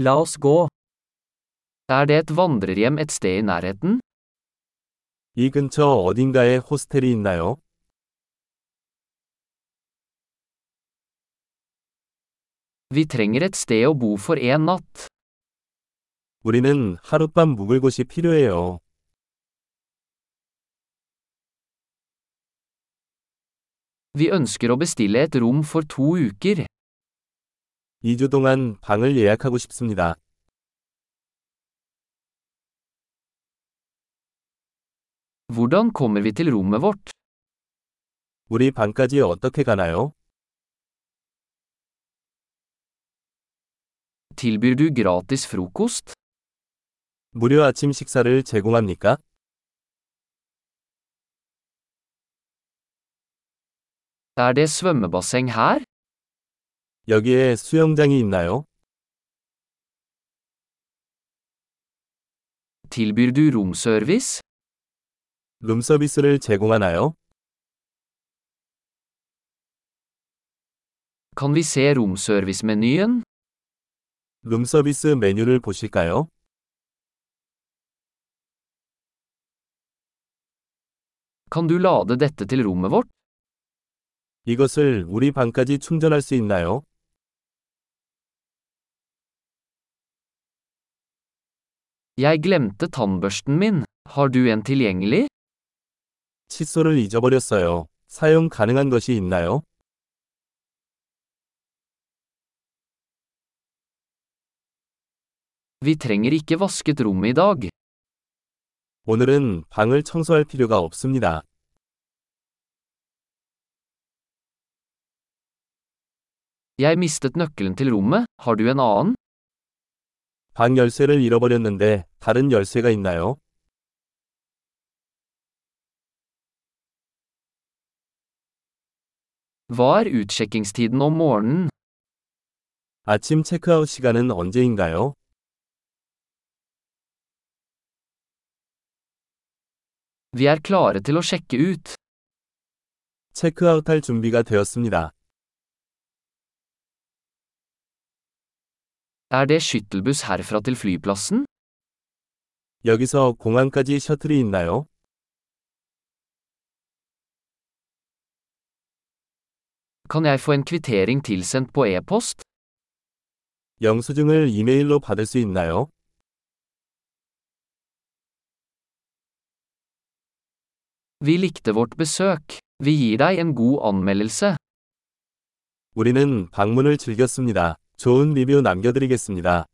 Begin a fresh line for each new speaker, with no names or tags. La oss gå. Er det et vandrerhjem et sted i nærheten?
이 근처 어딘가에 호스텔이 있나요?
Vi trenger et sted å bo for en natt.
우리는 하룻밤 묵을 곳이 필요해요.
Vi ønsker å bestille et rom for to uker.
2주 동안 방을 예약하고 싶습니다.
Hvordan kommer vi til rommet vårt?
우리 방까지 어떻게 가나요?
Tilbyr du gratis frokost?
무료 아침 식사를 제공합니까?
Er det svømmebasseng her?
여기에 수영장이 있나요?
Tilbyr du romservice?
룸서비스를 제공하나요?
Kan vi se romservice-menyen?
룸서비스 메뉴를 보실까요?
Kan du lade dette til rommet vårt?
이것을 우리 방까지 충전할 수 있나요?
Jeg glemte tannbørsten min. Har du en tilgjengelig?
칫솔을 잊어버렸어요. 사용 가능한 것이 있나요?
Vi trenger ikke vasket rommet i dag.
오늘은 방을 청소할 필요가 없습니다.
Jeg mistet nøkkelen til rommet. Har du en annen?
방 열쇠를 잃어버렸는데 다른 열쇠가 있나요?
Hva er utsjekkingstiden om morgenen?
아침 체크아웃 시간은 언제인가요?
Vi er klare til å sjekke ut.
체크아웃할 준비가 되었습니다.
Er det skyttelbuss herfra til flyplassen?
여기서 공항까지 셔틀이 있나요?
Kan jeg få en kvittering tilsendt på e-post?
영수증을 이메일로 받을 수 있나요?
Vi likte vårt besøk. Vi gir deg en god anmeldelse.
우리는 방문을 즐겼습니다. 좋은 리뷰 남겨드리겠습니다.